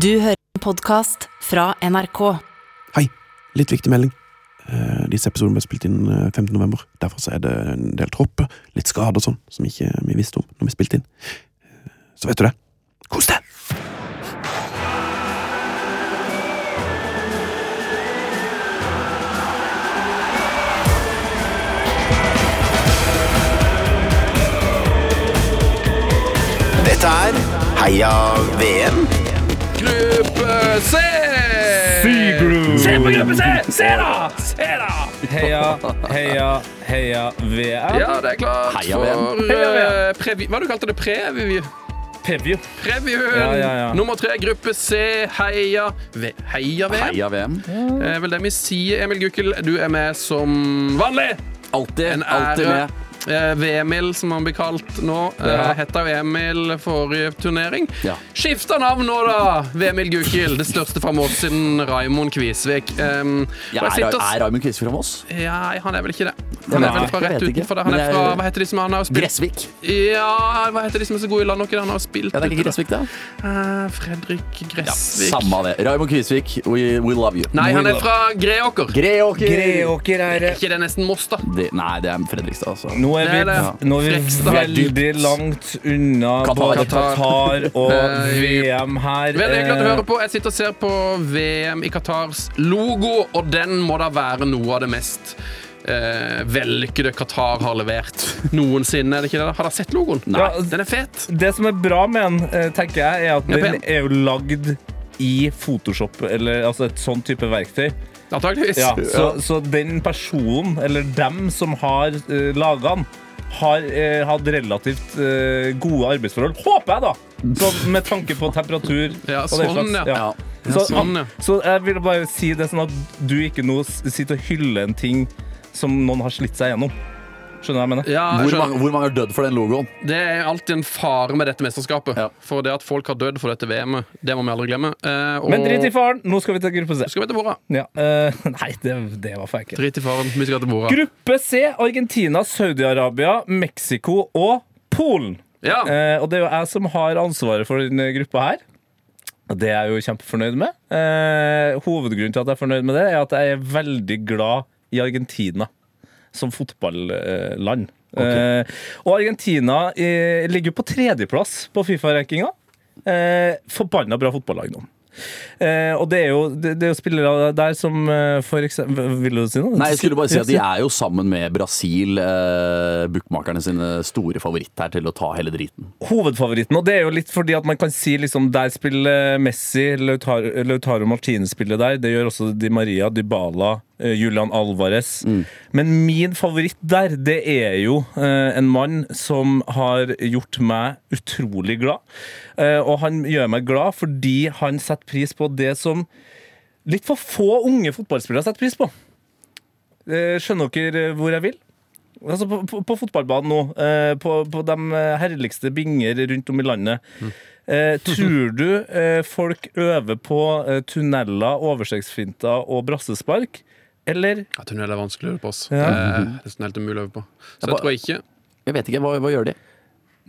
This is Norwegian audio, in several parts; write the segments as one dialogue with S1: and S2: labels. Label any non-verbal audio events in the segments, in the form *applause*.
S1: Du hører en podkast fra NRK.
S2: Litt viktig melding. Eh, Disse episodene ble spilt inn eh, 15. november. Derfor så er det en del tropper, litt skader og sånn, som ikke vi visste om når vi spilte inn. Eh, Så vet du det. Kos deg!
S3: Dette er Heia VM.
S4: Gruppe C!
S5: Se på gruppe C! Se da! Se da! Heia, heia, heia VM.
S4: Ja, det er klart
S3: Heia
S4: for
S3: VM.
S5: Heia
S4: eh, previ- Hva du kalte det? Preview?
S5: Preview.
S4: Previewen!
S5: Ja, ja, ja.
S4: Nummer tre, gruppe C, heia v Heia VM.
S3: Heia VM.
S4: Det er vel det vi sier, Emil Gukkel. Du er med som vanlig.
S3: Alltid,
S4: En
S3: alltid
S4: ære.
S3: med.
S4: Eh, VMIL, som han blir kalt nå. Ja.
S5: Ja.
S4: Hetta jo Emil forrige turnering.
S3: Ja.
S4: Skifta navn nå, da! VMIL Gukil. Det største fra Moss siden Raimond Kvisvik. Um,
S3: Ja,
S4: og jeg
S3: er,
S4: sitter og s-
S3: er Raymond Kvisvik fra Moss?
S4: Nei, han er vel ikke det. Han er
S3: Nei,
S4: vel fra
S3: jeg
S4: rett
S3: vet ikke.
S4: utenfor der. Han
S3: Men
S4: er
S3: jeg-
S4: fra, hva heter de som han har spilt?
S3: Gressvik.
S4: Ja, hva heter de som er så gode i land dere? Han har spilt
S3: Ja, det er
S4: ute,
S3: ikke
S4: da.
S3: Gressvik, det.
S4: Eh, Fredrik
S3: Ja,
S4: Gressvik.
S3: samme av det. Raymond Kvisvik, we, we love you.
S4: Nei, han er fra Greåker.
S3: Greåker.
S5: Greåker er det.
S4: Ikke det nesten Moss, da?
S3: Det, nei, det er Fredrikstad, altså.
S5: Nå er
S4: Det er
S5: vi,
S4: det.
S5: nå er vi
S4: Frekstad.
S5: veldig langt unna både
S4: Qatar.
S5: Qatar og
S4: Eh,
S5: VM her.
S4: Veldig hyggelig at du
S5: Eh,
S4: hører på. Jeg sitter og ser på VM i Qatars logo, og den må da være noe av det mest eh, vellykkede Qatar har levert noensinne. Er det ikke det? da? Har dere sett logoen?
S3: Nei.
S5: Ja,
S4: Den er fet.
S5: Eh, Det som er bra med den, eh, tenker jeg, er at
S4: Ja,
S5: den
S4: pen.
S5: er jo lagd i Photoshop, eller altså et sånn type verktøy.
S4: Antakeligvis.
S5: Ja, så, så den personen, eller dem som har uh, laga den, har eh, hatt relativt eh, gode arbeidsforhold. Håper jeg, da! Så, med tanke på temperatur
S4: *laughs* Ja,
S5: og den
S4: sånn,
S5: slags.
S4: ja.
S3: Ja.
S5: Så,
S4: sånn, ja.
S5: så jeg vil bare si det sånn at du ikke nå s- sitter og hyller en ting som noen har slitt seg gjennom. Skjønner du hva jeg mener?
S4: Ja, jeg
S3: Hvor
S4: skjønner.
S3: mange, hvor mange har dødd for den logoen?
S4: Det er alltid en fare med dette mesterskapet.
S3: Ja.
S4: For det at folk har dødd for dette VM-et, det må vi aldri glemme. Eh, og
S5: Men drit i faren, nå skal vi til gruppe C.
S4: Skal vi til bordet?
S5: Ja, eh, *laughs* nei, det, det var for enkelt.
S4: Drit i faren. Vi skal til bordet.
S5: Gruppe C, Argentina, Saudi-Arabia, Mexico og Polen.
S4: Ja.
S5: Eh, og det er jo jeg som har ansvaret for denne gruppa her. Og det er jeg jo kjempefornøyd med. Eh, hovedgrunnen til at jeg er fornøyd med det, er at jeg er veldig glad i Argentina som fotballand. Eh, og Argentina eh, ligger jo på tredjeplass på Fifa-rankinga. Eh, forbanna bra fotballag nå. Eh, og det er, jo, det, det er jo spillere der som eh, for eksempel Vil du si noe?
S3: Nei, jeg skulle bare si at De
S5: Ja,
S3: er jo sammen med Brasil, eh, bookmakerne sine store favoritt her til å ta hele driten.
S5: hovedfavoritten. Og det er jo litt fordi at man kan si liksom der spiller Messi, Lautaro, Lautaro Martinez spiller der. Det gjør også Di Maria, Dybala, eh, Julian Alvarez. Men min favoritt der, det er jo eh, en mann som har gjort meg utrolig glad. Eh, Og han gjør meg glad fordi han setter pris på det som litt for få unge fotballspillere setter pris på. Eh, Skjønner dere hvor jeg vil? Altså på, på, på fotballbanen nå, eh, på, på de herligste binger rundt om i landet. Eh, tror du eh, folk øver på eh, tunneler, overstegsfinter og brassespark? Eller
S4: Ja, tunnel er vanskelig å øve på oss.
S5: Ja.
S4: Eh, Det er sånn helt umulig å øve på. Så jeg
S3: bare-
S4: tror jeg ikke
S3: Jeg vet ikke, hva, hva gjør de?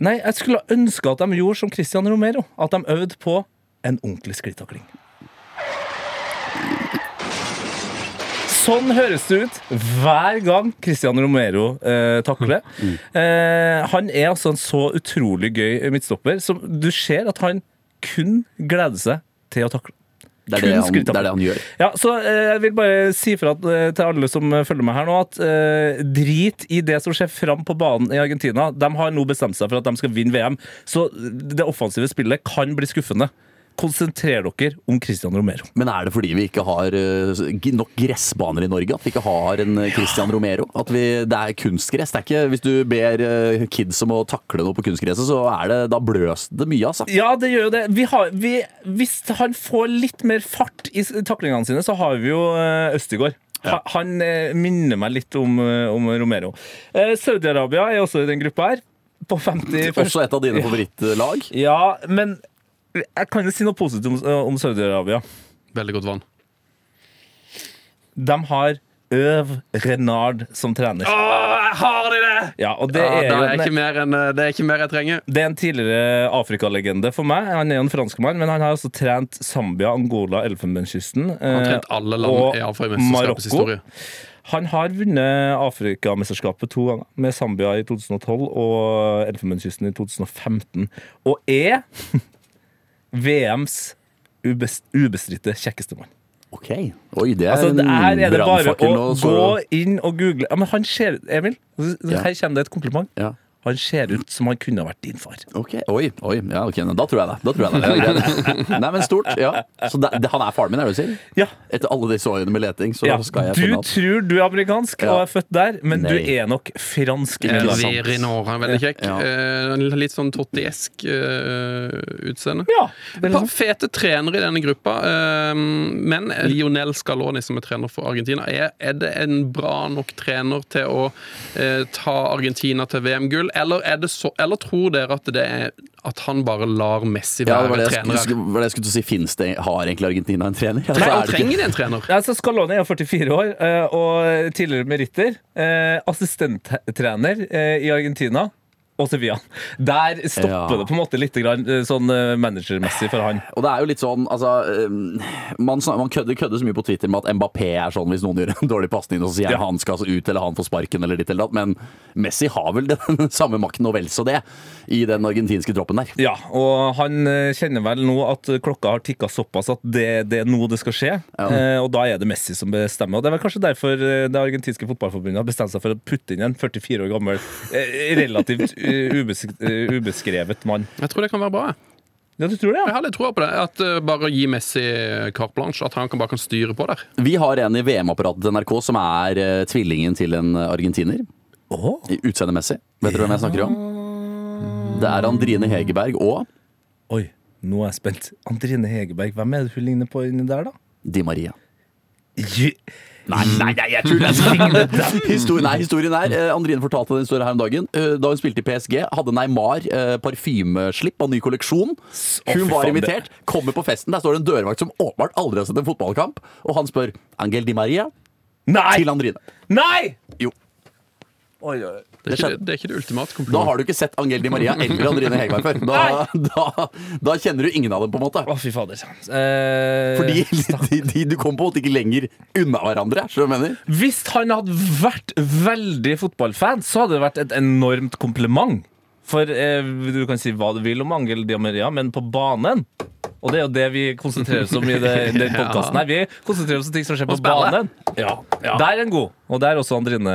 S5: Nei, jeg skulle ønske at de gjorde som Christian Romero. At de øvde på en ordentlig skrittakling. Sånn høres det ut hver gang Christian Romero eh, takler. Eh, han er altså en så utrolig gøy midtstopper. Som du ser at han kun gleder seg til å takle.
S3: Det er det
S5: Kun
S3: han, det
S5: skrittakling.
S3: er det han gjør.
S5: Ja, så eh, jeg vil bare si fra at, eh, til alle som eh, følger meg her nå, at eh, drit i det som skjer fram på banen i Argentina. De har nå bestemt seg for at de skal vinne VM, så eh, det offensive spillet kan bli skuffende. Konsentrer dere om Christian Romero.
S3: Men er det fordi vi ikke har eh, g- nok gressbaner i Norge? At vi ikke har en eh, Christian Romero? At vi, det er kunstgress? Det er ikke, hvis du ber eh, kids om å takle noe på kunstgresset, så er det, da bløs det mye, altså.
S5: Ja, det gjør jo det. Vi har, vi, hvis han får litt mer fart i s- taklingene sine, så har vi jo eh, Østigård. Ha- Han eh, minner meg litt om, eh, om Romero. Eh, Saudi-Arabia er også i den gruppa her. På 51.
S3: Også et av dine favorittlag.
S5: Ja, men jeg kan jo si noe eh, positivt om, om Saudi-Arabia.
S4: Veldig godt vann.
S5: De har øv Renard som trener.
S4: Å, jeg har det! i det!
S5: Ja, og det
S4: Ja,
S5: er
S4: det,
S5: jo
S4: er
S5: en,
S4: ikke mer enn, eh, det er ikke mer jeg trenger.
S5: det er en tidligere Afrikalegende for meg. Han er jo en franskmann, men han har også trent Zambia, Angola, Elfenbenskysten
S4: Han har
S5: eh,
S4: trent alle land i Afrikamesterskapets historie.
S5: Han har vunnet Afrikamesterskapet to ganger, med Zambia i 2012 og Elfenbenskysten i 2015. Og er *laughs* VMs ubest- ubestridte kjekkeste mann.
S3: Ok. Oi, det er
S5: Altså, det her er det
S3: en
S5: bare
S3: brannfakkel nå.
S5: å
S3: så-
S5: gå inn og google ja, men han ser, Emil, her kommer det et kompliment.
S3: Ja.
S5: Han ser ut som han kunne ha vært din far.
S3: Ok, Oi, oi, ja, ok, da tror jeg det. Da tror jeg det. Nei, men stort. ja Så det, det, Han er faren min, er det du sier?
S5: Ja,
S3: Etter alle disse årene med leting, så
S5: ja.
S3: skal jeg
S5: Du
S3: finne at
S5: tror du er amerikansk
S3: Ja.
S5: og er født der, men
S3: Nei.
S5: du er nok fransk. sånn. i
S4: Eh,
S5: utlandet.
S4: Virinor er veldig kjekk.
S3: Ja.
S4: Eh, Litt sånn tottiesk eh, utseende.
S5: Ja,
S4: Et
S5: det er
S4: par
S5: liksom.
S4: fete trenere i denne gruppa, eh, men Lionel Scaloni, som er trener for Argentina, er, er det en bra nok trener til å eh, ta Argentina til VM-gull, eller, er det så- eller tror dere at, det er, at han bare lar Messi
S3: ja,
S4: være
S3: det var det, jeg
S4: trener?
S3: skulle,
S4: her?
S3: skulle- var det jeg skulle til å si. Finnes det, har egentlig Argentina en trener? Altså,
S4: Nei,
S3: er
S4: han
S3: det ikke-
S4: trenger en trener.
S5: Ja, så Scaloni er 44 år eh, og tidligere meritter. eh, Assistenttrener eh, i Argentina og Sevilla. Der stopper
S3: Ja.
S5: det på en måte litt grann, eh, sånn eh, managermessig for han.
S3: Og det er jo litt sånn, altså øhm, Man, snak- man kødder, kødder så mye på Twitter med at Mbappé er sånn hvis noen gjør en *laughs* dårlig pasning, og så sier
S5: Ja.
S3: han skal altså ut, eller han får sparken, eller ditt eller datt. Men Messi har vel *laughs* den samme makten og vel så det i den argentinske troppen der.
S5: Ja, og han eh, kjenner vel nå at klokka har tikka såpass at det, det er nå det skal skje.
S3: Ja.
S5: Eh, og da er det Messi som bestemmer. Og det er vel kanskje derfor eh, det argentinske fotballforbundet har bestemt seg for å putte inn en 44 år gammel, eh, relativt eh, ubesk eh, ubeskrevet mann.
S4: Jeg tror det kan være bra. jeg.
S5: Ja, du tror det,
S4: Jeg
S5: ja?
S4: har litt tro på det. At eh, Bare gi Messi carte blanche. At han kan bare kan styre på der.
S3: Vi har en i VM-apparatet til NRK som er eh, tvillingen til en argentiner.
S5: Åh.
S3: i Utseendemessig. Vet dere hvem jeg snakker om? Det er Andrine Hegerberg og
S5: Oi, nå er jeg spent. Andrine Hegerberg, hvem er det hun ligner på inni der, da?
S3: Di Maria.
S5: J-
S3: Nei, nei, nei, jeg tuller! *laughs* historien er, historien er eh, Andrine fortalte den historien her om dagen. Eh, Da hun spilte i PSG, hadde Neymar eh, parfymeslipp av ny kolleksjon.
S5: Å, fy
S3: Hun var
S5: faen, det-
S3: invitert, kommer på festen, der står det en dørvakt som åpenbart aldri har sett en fotballkamp, og han spør Angel Di Maria
S5: Nei!
S3: til Andrine.
S5: Nei!
S3: Jo.
S4: Det er ikke
S3: skjedde.
S4: det, det, er ikke det ultimate
S3: Da
S4: komplimentet.
S3: har du ikke sett Angel Di Maria eller Andrine Hegerberg før. Da, da, da kjenner du ingen av dem, på en måte.
S5: Å, fy fader. Eh,
S3: Fordi *laughs* de, de, du kom på en måte ikke lenger unna hverandre. Skjønner du hva jeg mener?
S5: Hvis han hadde vært veldig fotballfan, så hadde det vært et enormt kompliment. For eh, du kan si hva du vil om Angel Di Maria, men på banen Og det er jo det vi konsentrerer oss om i det, i
S4: *laughs*
S5: den podkasten her. Vi konsentrerer oss om ting som skjer på
S4: spillet.
S5: banen. Ja, Der er han god. Og der er også Andrine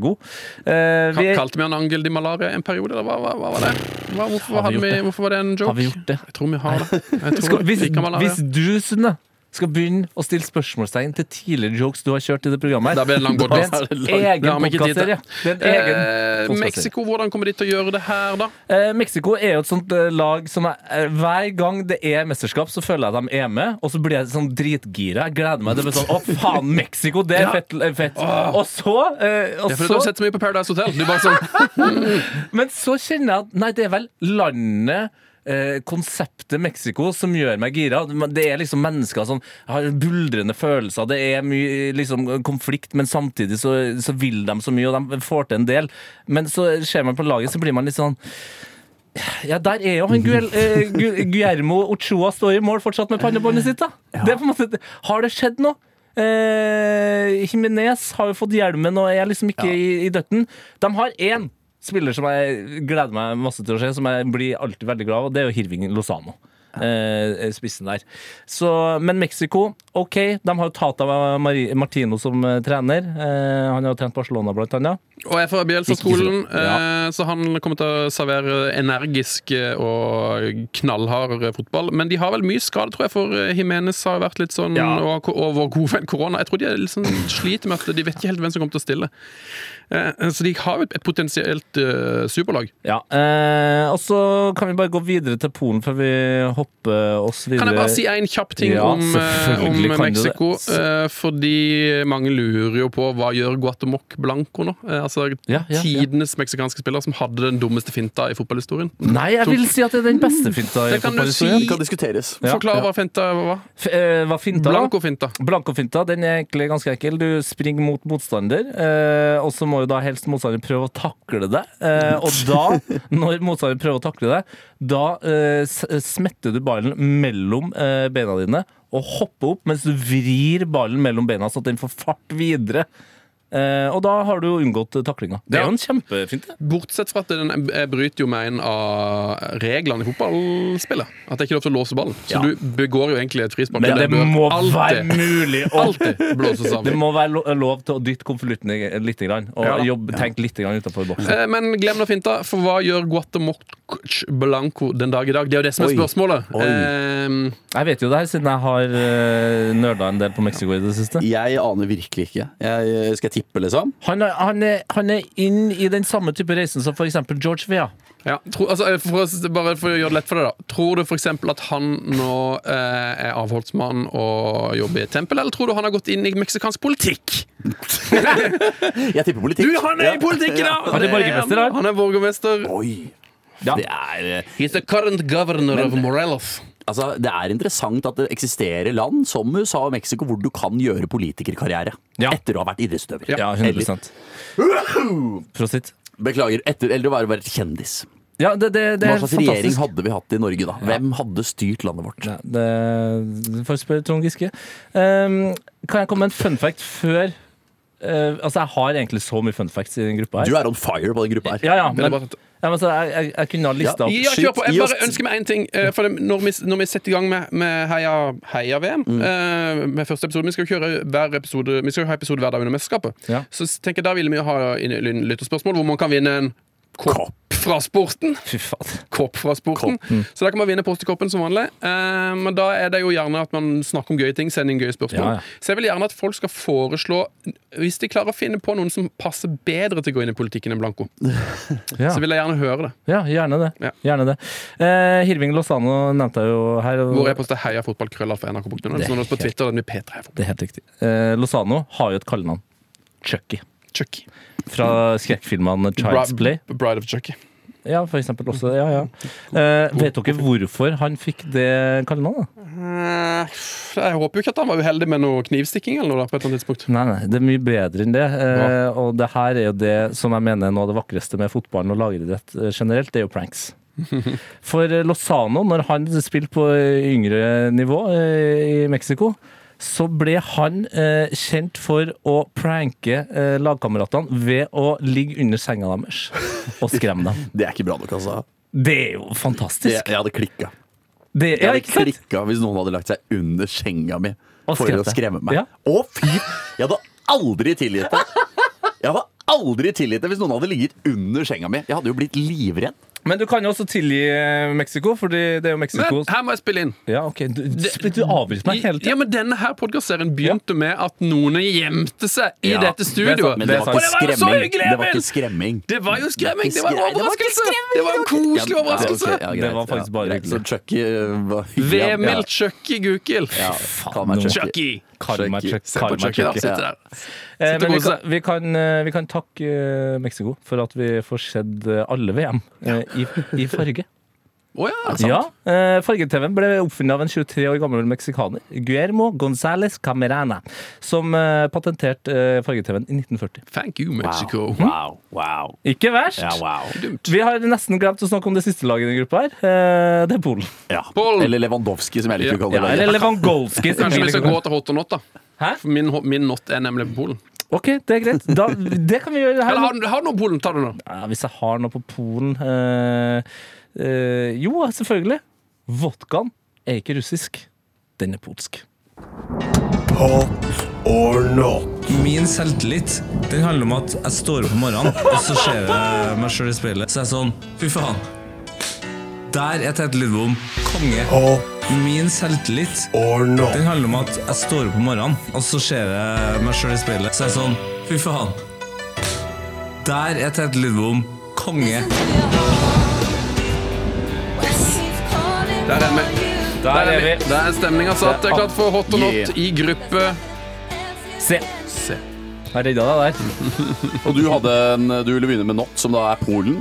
S5: god. Eh,
S4: Ka- Kalte vi han Angel di Malaria en periode? Eller hva, hva, hva var det? Hva, hvorfor,
S5: Har vi
S4: hadde vi,
S5: gjort
S4: hvorfor var det en joke?
S5: Har vi gjort det?
S4: Jeg tror vi har det.
S5: *laughs*
S4: Jeg tror
S5: Skal,
S4: det.
S5: hvis,
S4: Fikk han malaria.
S5: hvis du, Sunne, skal begynne å stille spørsmålstegn til tidligere jokes du har kjørt i det programmet,
S4: Da blir det en lang
S5: det er
S4: podcast.
S5: en
S4: Det har
S5: egen
S4: vi ikke tid til.
S5: podkastserie. Det er en egen
S4: Eh,
S5: podcast-serie.
S4: Mexico, hvordan kommer de til å gjøre det her, da?
S5: Eh, Mexico er jo et sånt eh, lag som er, eh, Hver gang det er mesterskap, så føler jeg at de er med, og så blir jeg sånn dritgira. Jeg gleder meg. Det blir sånn Å, faen, Mexico! Det er
S4: Ja.
S5: fett. eh, fett. Og så, eh,
S4: Det er
S5: og
S4: fordi du har
S5: så
S4: sett så mye på Paradise Hotel. Du er bare sånn,
S5: Men så kjenner jeg at Nei, det er vel landet Eh, konseptet Mexico som gjør meg gira. Men Det er liksom mennesker som har buldrende følelser. Det er mye liksom, konflikt, men samtidig så, så vil de så mye, og de får til en del. Men så ser man på laget, så blir man litt sånn Ja, der er jo han Guel, eh, Gu- Guillermo Ochoa står i mål fortsatt med pannebåndet sitt, da. Det er på en måte, har det skjedd noe? Eh, Jimenez har jo fått hjelmen og er liksom ikke i, i døtten. De har én spiller som jeg gleder meg masse til å se, som jeg blir alltid veldig glad av, og det er jo Hirving Lozano. Eh, spissen der. Så, men Mexico, OK. De har jo Tata Mari- Martino som eh, trener. Eh, han har jo trent Barcelona, blant annet.
S4: og jeg er fra Bielsa-skolen,
S3: Ikke så- ja.
S4: eh, så han kommer til å servere energisk eh, og knallhard eh, fotball. Men de har vel mye skade, tror jeg, for eh, Jimenez har vært litt sånn
S5: Ja.
S4: og, og vår gode venn korona. Jeg tror de er litt sånn,
S5: *clears throat*
S4: sliter med at de vet ikke helt hvem som kommer til å stille. Eh, Så de har jo et et potensielt eh, superlag.
S5: Ja, eh, Og så kan vi bare gå videre til Polen før vi hopper oss videre.
S4: Kan jeg bare si en kjapp ting
S5: Ja,
S4: om, eh, om
S5: selvfølgelig kan du det.
S4: Mexico? Eh, fordi mange lurer jo på hva gjør Guatemoc Blanco nå? Eh, altså altså
S5: Ja, ja, ja.
S4: tidenes meksikanske spiller som hadde den dummeste finta i fotballhistorien.
S5: Nei, jeg vil si at det er den beste finta i
S4: Det kan du
S5: fotballhistorien.
S3: Det kan diskuteres.
S5: Ja,
S4: Forklar
S5: ja.
S4: hva finta var.
S5: F- eh, Hva finta? da?
S4: Blanco-finta.
S5: Blankofinta den er egentlig ganske enkel. Du springer mot motstander, eh, og så må jo da helst motstander prøve å takle deg. Eh, og da, når motstander prøver å takle deg, da eh, s- smetter du ballen mellom eh, beina dine og hopper opp mens du vrir ballen mellom beina, så at den får fart videre. Eh, og da har du jo unngått eh, taklinga. Det er jo en kjempefinte.
S4: Bortsett fra at den eh, bryter jo med en av reglene i fotballspillet. At det ikke er lov til å låse ballen. Så
S3: Ja.
S4: du begår jo egentlig et frispark.
S5: Men det
S4: bør
S5: må være
S4: alltid,
S5: mulig å
S4: alltid blåses av.
S5: Det må være lo- lov til å dytte konvolutten i- litt grann, og
S4: Ja da.
S5: jobbe, tenke litt utafor boksen.
S4: Eh, Men glem nå finta, for hva gjør Guatemoc Blanco den dag i dag? Det er jo det som er
S3: Oi.
S4: spørsmålet.
S3: Oi.
S4: Eh,
S5: Jeg vet jo det her, siden jeg har uh, nerda en del på Mexico i det siste.
S3: Jeg aner virkelig ikke. Jeg, skal jeg tippe, liksom?
S5: Han er, han, er, han er inn i den samme type reisen som f.eks. George Vea.
S4: ja, tro, altså, eh, for, å- bare for å gjøre det lett for deg, da. Tror du f.eks. at han nå eh, er avholdsmann og jobber i et tempel, eller tror du han har gått inn i meksikansk politikk?
S3: Jeg tipper politikk.
S4: Du, han er
S3: Ja.
S4: i politikken, ja!
S5: Han er borgermester, han.
S4: Han er borgermester.
S3: Oi. Det er, eh,
S4: He's the current governor of Morelos.
S3: altså, det er interessant at det eksisterer land som USA og Mexico hvor du kan gjøre politikerkarriere
S5: Ja.
S3: etter å ha vært idrettsutøver.
S5: Ja, 100 Prosit.
S3: Eller, beklager, etter, eller å være- være kjendis.
S5: Ja, det, det, det
S3: Hva
S5: er
S3: slags regjering
S5: Eh, fantastisk.
S3: hadde vi hatt i Norge, da? Hvem hadde styrt landet vårt?
S5: Ja, det, du får spørre Trond Giske. Ehm, kan jeg komme med en fun fact før eh, Altså, jeg har egentlig så mye fun facts i den gruppa
S3: Du
S5: her.
S3: er on fire på den gruppa her.
S5: Ja, ja, men,
S4: Vil jeg
S5: ja,
S4: bare ta-
S5: men altså, jeg, jeg, jeg kunne ha lista opp
S4: Ja, kjør på. Jeg
S3: Skyt i oss.
S4: bare ønsker meg én ting. eh, For det- når vi, når vi setter i gang med, med Heia, heia VM, eh, med første episode Vi skal jo kjøre hver episode Vi skal jo ha episode hver dag under mesterskapet.
S5: Ja.
S4: Så s- tenker jeg der ville vi jo ha inn- inn- lytterspørsmål hvor man kan vinne en kopp fra sporten.
S5: Fy faen.
S4: Kopp fra sporten.
S5: Mm.
S4: Så der kan man vinne postekoppen som vanlig. Eh, Men da er det jo gjerne at man snakker om gøye ting, sender inn gøye spørsmål.
S5: Ja, ja.
S4: Så jeg vil gjerne at folk skal foreslå Hvis de klarer å finne på noen som passer bedre til å gå inn i politikken enn Blanko,
S5: Ja.
S4: så vil jeg gjerne høre det.
S5: Ja, gjerne det.
S4: Ja.
S5: Gjerne det. Eh, Hirving Lozano nevnte jeg jo her. og-
S4: Hvor jeg poster heia fotballkrøller fra nrk.no. Så når det er på Twitter, det blir P3
S5: Det er helt riktig. Eh, Lozano har jo et kallenavn. Chucky.
S4: Chucky.
S5: Fra skrekkfilmene Child's Play.
S4: Bride of Chucky.
S5: Ja, for eksempel også. Ja, ja. Eh, vet dere hvorfor han fikk det kallenavnet?
S4: Eh, Jeg håper jo ikke at han var uheldig med noe knivstikking eller noe da, på et eller annet tidspunkt.
S5: Nei, nei, det er mye bedre enn det. Eh, og det her er jo det som jeg mener er noe av det vakreste med fotballen og lagidrett eh, generelt, det er jo *laughs* pranks. For eh, Lozano, når han spilte på eh, yngre nivå eh, i Mexico, så ble han eh, kjent for å pranke eh, lagkameratene ved å ligge under senga deres og skremme *laughs* dem.
S3: Det er ikke bra nok, altså.
S5: Det er jo
S3: Jeg,
S5: fantastisk!
S3: jeg hadde klikka.
S5: Det,
S3: Jeg
S5: ja,
S3: hadde
S5: ikke sant?
S3: klikka hvis noen hadde lagt seg under senga mi
S5: Og
S3: for å
S5: skremt deg.
S3: skremme meg.
S5: Ja.
S3: Å, fy! Jeg hadde aldri tilgitt det. Jeg hadde aldri tilgitt det hvis noen hadde ligget under senga mi. Jeg hadde jo blitt livredd.
S6: Men du kan jo også tilgi eh, Mexico, fordi det er jo
S4: Men
S6: Mexico
S5: eh,
S4: her må jeg spille inn.
S5: Ja, ok. Du, du, du avbryter meg
S4: Ja,
S5: hele tiden.
S4: men Denne her podkastserien begynte med at noen gjemte seg i
S3: Ja,
S4: dette studioet.
S3: Men det var
S4: Og det
S3: ikke
S4: var jo så
S3: skremming.
S4: hyggelig,
S3: Det var ikke
S4: Emil!
S3: skremming.
S4: Det var jo skremming! Det
S3: Det var
S4: var
S3: ikke
S4: en
S3: skremming.
S4: overraskelse! Det var en koselig
S3: Ja,
S4: overraskelse!
S3: ok, ja, greit.
S5: Det var faktisk
S3: Ja,
S5: bare
S3: greit.
S5: hyggelig.
S3: Så Chucky eh, var hyggelig. ja.
S4: Vemil
S3: Ja.
S4: Chucky Gukild.
S3: Kall meg
S5: nå.
S3: Chucky.
S4: Chucky!
S5: Kall meg
S3: Chucky.
S5: Chuck-
S3: Se på
S5: kall meg
S4: Chucky, da.
S5: Chucky.
S4: Sitter der.
S5: Eh,
S4: Sitter
S5: men vi
S4: og koser
S5: kan, vi, kan, eh, vi kan takke eh, Mexico for at vi får sett eh, alle VM eh, i, i farge.
S4: Å ja!
S5: Ja, eh, Farge-TV ble oppfunnet av en 23 år gammel meksikaner, Guermo Gonzales Camerana, som eh, patenterte eh, farge-TV-en i 1940.
S4: Thank you, Mexico.
S3: Wow, wow.
S5: Ikke verst!
S3: Ja, wow.
S5: Vi har nesten glemt å snakke om det siste laget i den gruppa her. Eh, det er Polen.
S3: Ja.
S4: Paul.
S3: Eller Lewandowski, som jeg liker å kalle
S5: Ja,
S3: det.
S5: eller Lewandowski. som
S4: Kanskje vi skal
S5: egentlig-
S4: gå til hot og not, da.
S5: Hæ?
S4: For min, min not er nemlig på Polen.
S5: Ok, det er greit. Da, det kan vi gjøre her.
S4: Eller
S5: nå.
S4: har, du- har du noe Polen? Ta det nå.
S5: Ja, hvis jeg har noe på Polen eh, eh, Jo, selvfølgelig. Vodkaen er ikke russisk. Den er polsk.
S6: Min selvtillit den handler om at jeg står opp om morgenen, og så ser jeg meg sjøl i speilet. Så jeg er sånn Fy faen. Der er Tete Lidbom konge. Min selvtillit den handler om at jeg står opp om morgenen, og så ser jeg meg sjøl i speilet. Så jeg er sånn Fy faen. Der er Tete Lidbom konge.
S4: Der er vi. Der er vi. Det *laughs* er stemninga satt. Det er klart for hot og not
S3: Yeah.
S4: i gruppe
S5: Se.
S4: C.
S5: Jeg redda deg der.
S3: Og du, hadde en, du ville begynne med Not, som da er Polen.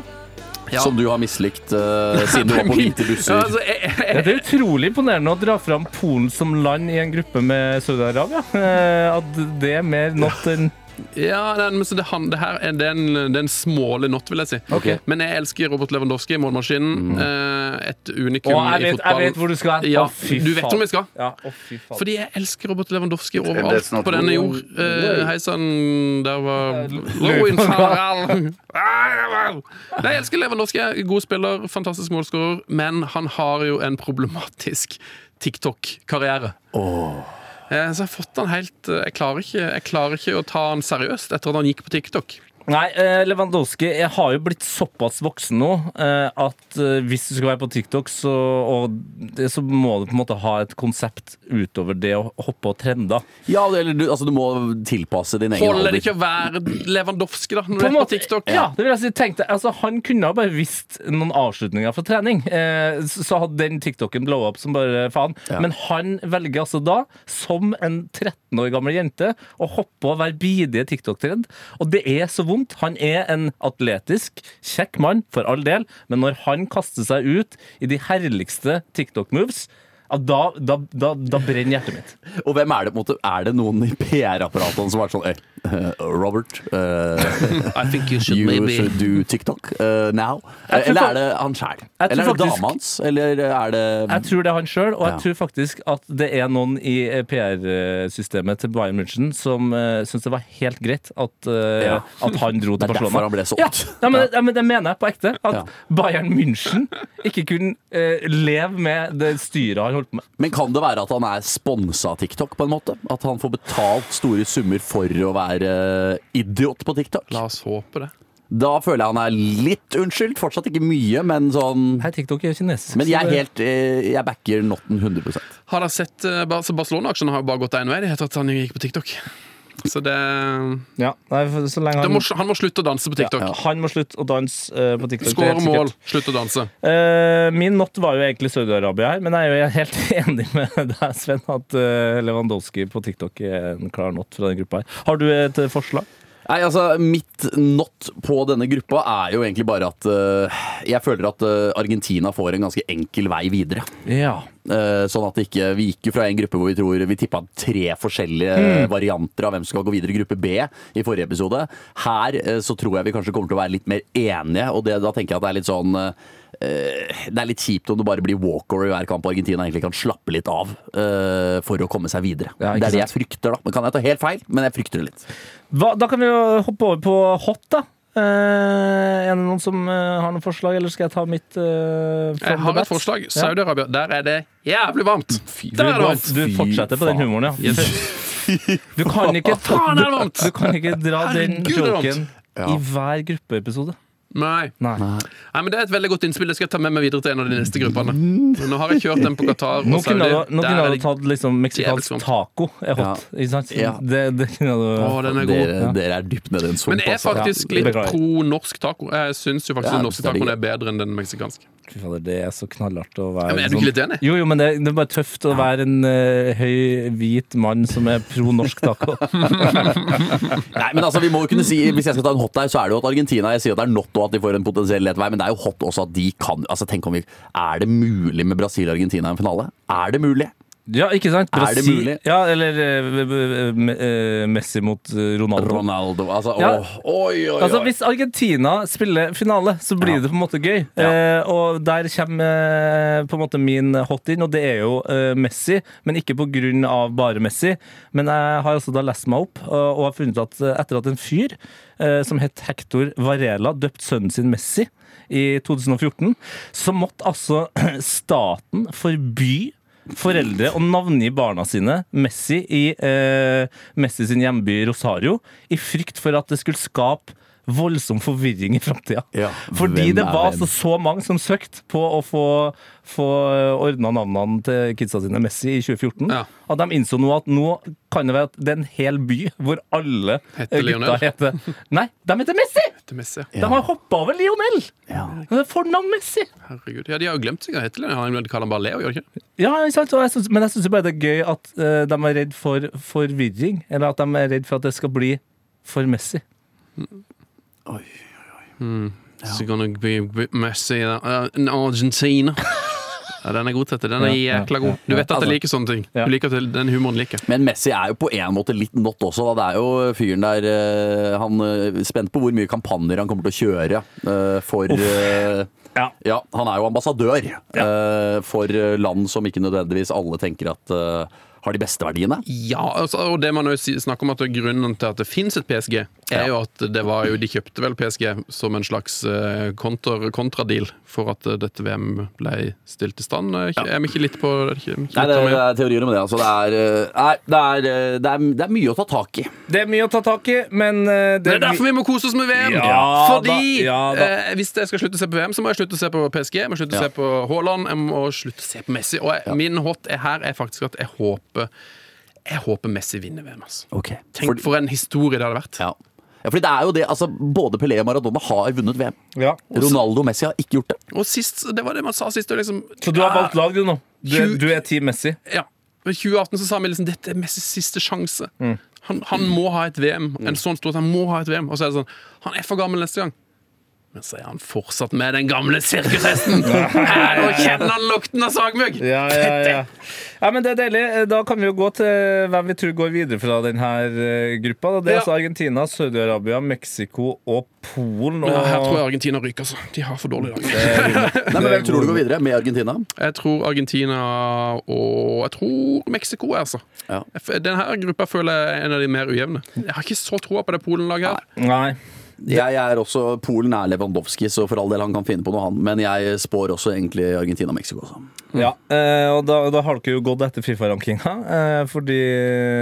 S3: Som du har mislikt eh, siden
S5: *laughs*
S3: du var på hvite
S4: Ja,
S3: busser.
S4: altså, jeg, jeg,
S5: Det er utrolig imponerende å dra fram Polen som land i en gruppe med Saudi-Arabia. Eh, At det er mer not enn
S4: Ja, den, men så det, han, det her er den, den småle not, vil jeg si.
S3: Ok.
S4: Men jeg elsker Robert Lewandowski, målmaskinen. eh, Et unikum
S5: Å, jeg
S4: i
S5: vet- jeg
S4: fotballen.
S5: vet hvor du skal hen.
S4: Ja,
S5: Å, fy
S4: du vet
S5: faen.
S4: hvor vi skal.
S5: Ja, å fy faen.
S4: Fordi jeg elsker Robert Lewandowski
S7: That's
S4: overalt
S7: not
S4: på denne
S7: Lewand-
S4: jord. Eh, Hei sann, der var Lewin *laughs* Nei, jeg elsker Lewandowski. God spiller, fantastisk målskårer. Men han har jo en problematisk TikTok-karriere. Eh, Så jeg har fått han helt eh, jeg klarer, ikke, jeg klarer ikke å ta han seriøst etter at han gikk på TikTok.
S5: Nei, eh, Lewandowski jeg har jo blitt såpass voksen nå eh, at eh, hvis du skal være på TikTok, så, og, det- så må du på en måte ha et konsept utover det å hoppe og trende.
S3: Ja, det- eller du, altså, du må tilpasse din egen
S4: Holder
S3: alder.
S4: det ikke å være Lewandowski, da, når
S5: På
S4: du er
S5: en
S4: på
S5: *laughs* måte,
S4: TikTok?
S5: ja, det vil jeg si, tenk deg, altså, Han kunne ha bare visst noen avslutninger fra trening, eh, så- så hadde den TikToken blow up som bare faen. Men han velger altså da, som en 13 år gammel jente, å hoppe og være bidige TikTok-trend. Og det er så vondt. Han er en atletisk, kjekk mann, for all del, men når han kaster seg ut i de herligste TikTok-moves ja, da, da, da, da brenner hjertet mitt.
S3: Og hvem er det på en måte? Er det noen i PR-apparatene som har vært sånn «Eh, eh, Robert,
S5: *laughs*
S3: eh,
S4: I think you should
S3: you
S4: maybe
S3: should do TikTok eh, now.
S5: Jeg tror
S3: Eller
S5: fak-
S3: er det han sjæl?
S5: Jeg tror
S3: Eller er det
S5: faktisk-
S3: dama hans? Eller er det
S5: Jeg tror det er han sjøl, og jeg
S3: Ja.
S5: tror faktisk at det er noen i PR-systemet til Bayern München som uh, syns det var helt greit at, eh,
S3: Ja.
S5: at han dro
S3: Det
S5: til
S3: er derfor
S5: Barcelona.
S3: han ble solgt.
S5: Ja, nei, men, ja, men det mener jeg på ekte. At
S3: Ja.
S5: Bayern München ikke kunne eh, leve med det styret han holdt på med.
S3: Men kan det være at han er sponsa av TikTok, på en måte? At han får betalt store summer for å være eh, idiot på TikTok?
S4: La oss håpe det.
S3: Da føler jeg han er litt unnskyldt. Fortsatt ikke mye, men sånn
S5: Hei, TikTok er jo kinesisk.
S3: Men jeg,
S5: så
S3: er
S5: det-
S3: helt, eh, jeg backer Notten 100
S4: Har dere sett eh, Bar- så Barcelona-aksjene har jo bare gått én vei. Det heter at han gikk på TikTok. Så det,
S5: ja, nei, for så lenge
S4: det
S5: han,
S4: må, Han må slutte å danse på TikTok.
S5: han må slutte å danse eh, på TikTok. det er
S4: Skåre
S5: helt sikkert.
S4: mål, slutt å danse.
S5: Eh, min not var jo egentlig Saudi-Arabia her, men jeg er jo *laughs* helt enig med deg, Sven, at eh, Lewandowski på TikTok er en klar not fra den gruppa her. Har du et eh, forslag?
S3: Nei, altså, Mitt not på denne gruppa er jo egentlig bare at eh, jeg føler at eh, Argentina får en ganske enkel vei videre.
S5: Ja.
S3: Eh, sånn at det ikke, Vi gikk jo fra en gruppe hvor vi tror vi tippa tre forskjellige
S4: Mm.
S3: eh, varianter av hvem som skal gå videre i gruppe B i forrige episode. Her eh, så tror jeg vi kanskje kommer til å være litt mer enige, og det, da tenker jeg at det er litt sånn eh, eh, det er litt kjipt om det bare blir walkover i hver kamp og Argentina egentlig kan slappe litt av eh, for å komme seg videre.
S5: Ja, ikke
S3: det er det jeg frykter, da. Men kan jeg ta helt feil, men jeg frykter det litt.
S5: Hva, da kan vi jo hoppe over på hot, da. Eh, er det noen som eh, har noen forslag, eller skal jeg ta mitt? eh, from
S4: Jeg
S5: the
S4: har
S5: bat?
S4: et forslag.
S5: Ja. Mm.
S4: Saudi-Arabia. Der er det jævlig varmt!
S5: Du,
S4: Der er det varmt!
S5: du fortsetter på den humoren, ja. Du kan ikke,
S4: Faen, er det varmt!
S5: du kan ikke dra den
S4: Herregud, det er varmt.
S5: joken i hver gruppeepisode.
S4: Nei.
S5: Nei.
S4: Nei, men Det er et veldig godt innspill. Det skal jeg ta med meg videre til en av de neste gruppene. Men Nå har jeg kjørt den på Qatar
S5: Mm. Nå
S4: og
S5: kunne
S4: Saudi.
S5: du, nå
S4: Der
S5: kunne
S4: er
S5: du
S4: det...
S5: tatt liksom meksikansk
S4: Jævlig varmt.
S5: taco er hot. Ikke sant?
S3: Ja.
S5: Det, det kunne du
S4: Å, den er god.
S3: Dere, dere er dypt nede i en sump.
S4: Men jeg er
S3: altså.
S4: faktisk
S5: Ja,
S4: litt
S5: beklager.
S4: pro norsk taco. Jeg syns jo faktisk
S3: Ja,
S4: den norske
S3: det er
S4: tacoen
S3: digg.
S4: er bedre enn den meksikanske.
S5: Fy fader, det er så knallhardt å være sånn-
S4: Ja, men er du ikke litt enig?
S5: Jo, jo, men det, det er bare tøft å være en eh, høy, hvit mann som er pro norsk *laughs* taco.
S3: Nei, men altså, vi må jo kunne si Hvis jeg skal ta en hot der, så er det jo at Argentina Jeg sier at det er not og at de får en potensiell lett vei, men det er jo hot også at de kan Altså, tenk om vi Er det mulig med Brasil og Argentina i en finale? Er det mulig?
S5: ja, ikke sant?
S3: Er det
S5: Brasil-
S3: mulig?
S5: Ja, eller eh, me- eh, Messi mot eh, Ronaldo.
S3: Ronaldo Altså,
S5: Ja.
S3: åh, oi, oi, oi.
S5: Altså, hvis Argentina spiller finale, så blir det på en måte gøy. Eh, og der kommer eh, på en måte min hot in, og det er jo eh, Messi. Men ikke på grunn av bare Messi. Men jeg har altså da lest meg opp, og, og har funnet at eh, etter at en fyr eh, som het Hector Varela, døpte sønnen sin Messi i 2014, så måtte altså *clears throat* staten forby foreldre å navngi barna sine Messi i eh, Messi sin hjemby Rosario i frykt for at det skulle skape voldsom forvirring i framtida.
S3: Ja,
S5: Fordi
S3: hvem
S5: det
S3: er
S5: var
S3: hvem?
S5: altså så mange som søkte på å få, få ordna navnene til kidsa sine Messi i 2014,
S4: Ja.
S5: at de innså nå at nå kan det være at det er en hel by hvor alle
S4: Heter
S5: eh,
S4: Lionel?
S5: gutta heter Nei, de heter Messi!
S4: Til Messi.
S5: De har hoppa over Lionel!
S3: Ja.
S5: Det er fornavn Messi!
S4: Herregud. Ja, De har jo glemt seg av Hitler. Han kaller han bare Leo, gjør de ikke?
S5: Ja, ikke sant? Og jeg synes, men jeg syns bare det er gøy at eh, de er redd for forvirring. Eller at de er redd for at det skal bli for Messi.
S4: It's gonna be a bit messy uh, in Argentina. Ja, den er god, Tete. Den er
S5: Ja,
S4: jækla god. Du vet at jeg
S3: Altså-
S4: liker sånne ting.
S5: Ja.
S4: Du liker at Den humoren liker. jeg.
S3: Men Messi er jo på en måte litt not også. Da. Det er jo fyren der eh, Han eh, Spent på hvor mye kampanjer han kommer til å kjøre eh, for eh,
S5: Ja.
S3: Han er jo ambassadør eh, for eh, land som ikke nødvendigvis alle tenker at eh, har de beste verdiene.
S4: Ja, altså, og det man jo si- snakker om at grunnen til at det fins et PSG, er jo at det var jo, de kjøpte vel PSG som en slags eh, kontor, kontradeal for at eh, dette VM ble stilt i stand. Eh, Er vi ikke litt på er det ikke- er vi ikke
S3: Nei,
S4: litt
S3: det,
S4: om-
S3: det er teorier om det. Altså, det, er, eh, nei, det, er, eh, det, er, det er mye å ta tak i.
S5: Det er mye å ta tak i, men eh,
S4: Det er derfor vi må kose oss med VM!
S5: Ja,
S4: Fordi
S5: da, ja, da.
S4: Eh, hvis jeg skal slutte å se på VM, så må jeg slutte å se på PSG, jeg må slutte å
S3: Ja.
S4: se på Haaland, jeg må slutte å se på Messi. Og jeg, min hot er her er faktisk at jeg håper jeg håper Messi vinner VM. Altså. Tenk for en historie det hadde vært.
S3: Ja. ja, fordi det er jo det. Altså, både Pelé og Maradona har vunnet VM.
S5: Ja.
S3: Ronaldo og Messi har ikke gjort det.
S4: Og sist, Det var det man sa sist. og Liksom,
S5: Så du har valgt lag, du nå? Du,
S4: Tju-
S5: du er Team Messi?
S4: Ja. I 2018 så sa vi liksom dette er Messis siste sjanse.
S5: Mm.
S4: Han, han må ha et VM. En sånn stor at han må ha et VM. Og så er det sånn Han er for gammel neste gang. Men så er han fortsatt med den gamle
S5: *laughs*
S4: sirkushesten! Her, Nå kjenner han lukten av sagmugg!
S5: Ja, ja, ja. ja, men det er deilig. Eh, Da kan vi jo gå til hvem vi tror går videre fra denne gruppa. da. Det er
S4: Ja.
S5: altså Argentina, Saudi-Arabia, Mexico og Polen.
S4: Men her tror
S5: Og...
S4: jeg Argentina ryker, altså. De har for dårlig lag.
S3: Nei, men Hvem tror du går videre? Med Argentina?
S4: Jeg tror Argentina og Jeg tror Mexico, er, altså.
S3: Ja.
S4: Jeg f- Den her gruppa føler jeg er en av de mer ujevne. Jeg har ikke så troa på det Polen-laget her.
S5: Nei.
S3: Jeg er også, Polen er Lewandowski, så for all del han kan finne på noe, han. Men jeg spår også egentlig Argentina og Mexico. altså. Også.
S4: Mm.
S5: Ja, eh, og da, da har dere jo gått etter Fifa-rankinga, eh, fordi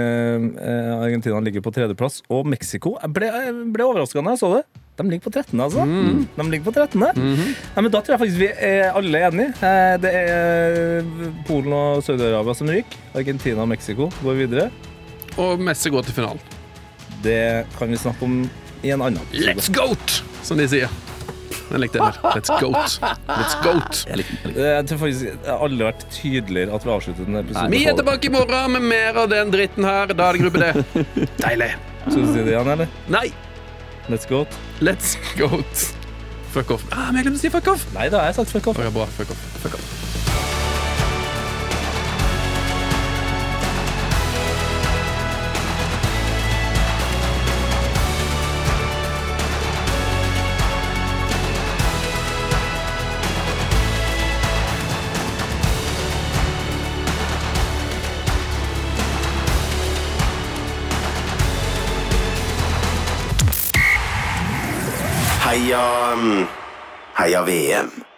S5: eh, Argentina ligger på tredjeplass, og Mexico jeg ble, jeg ble overraska da jeg så det. De ligger på 13., altså.
S4: Mm.
S5: De ligger på 13.
S4: Mhm.
S5: Nei, men da tror jeg faktisk vi er alle enige. Eh, det er eh, Polen og Saudi-Arabia som ryker. Argentina og Mexico går videre.
S4: Og Messi går til finalen.
S5: Det kan vi snakke om i en annen episode.
S4: Let's goat! Som de sier. Den likte jeg mer. Let's goat. Let's goat.
S3: Jeg liker, jeg liker.
S5: Eh, Jeg tror faktisk det har aldri vært tydeligere at vi avslutter denne episoden.
S4: Vi er tilbake i morgen med mer av den dritten her. Da er det gruppe D. Deilig.
S5: Skal du si det igjen, eller?
S4: Nei,
S5: Let's go.
S4: let's goat. Fuck off. Ah, men jeg glemte å si fuck off.
S5: Nei, da har jeg sagt fuck off.
S4: Ok, bra. Fuck off. Fuck off.
S7: Heia mm, Heia VM.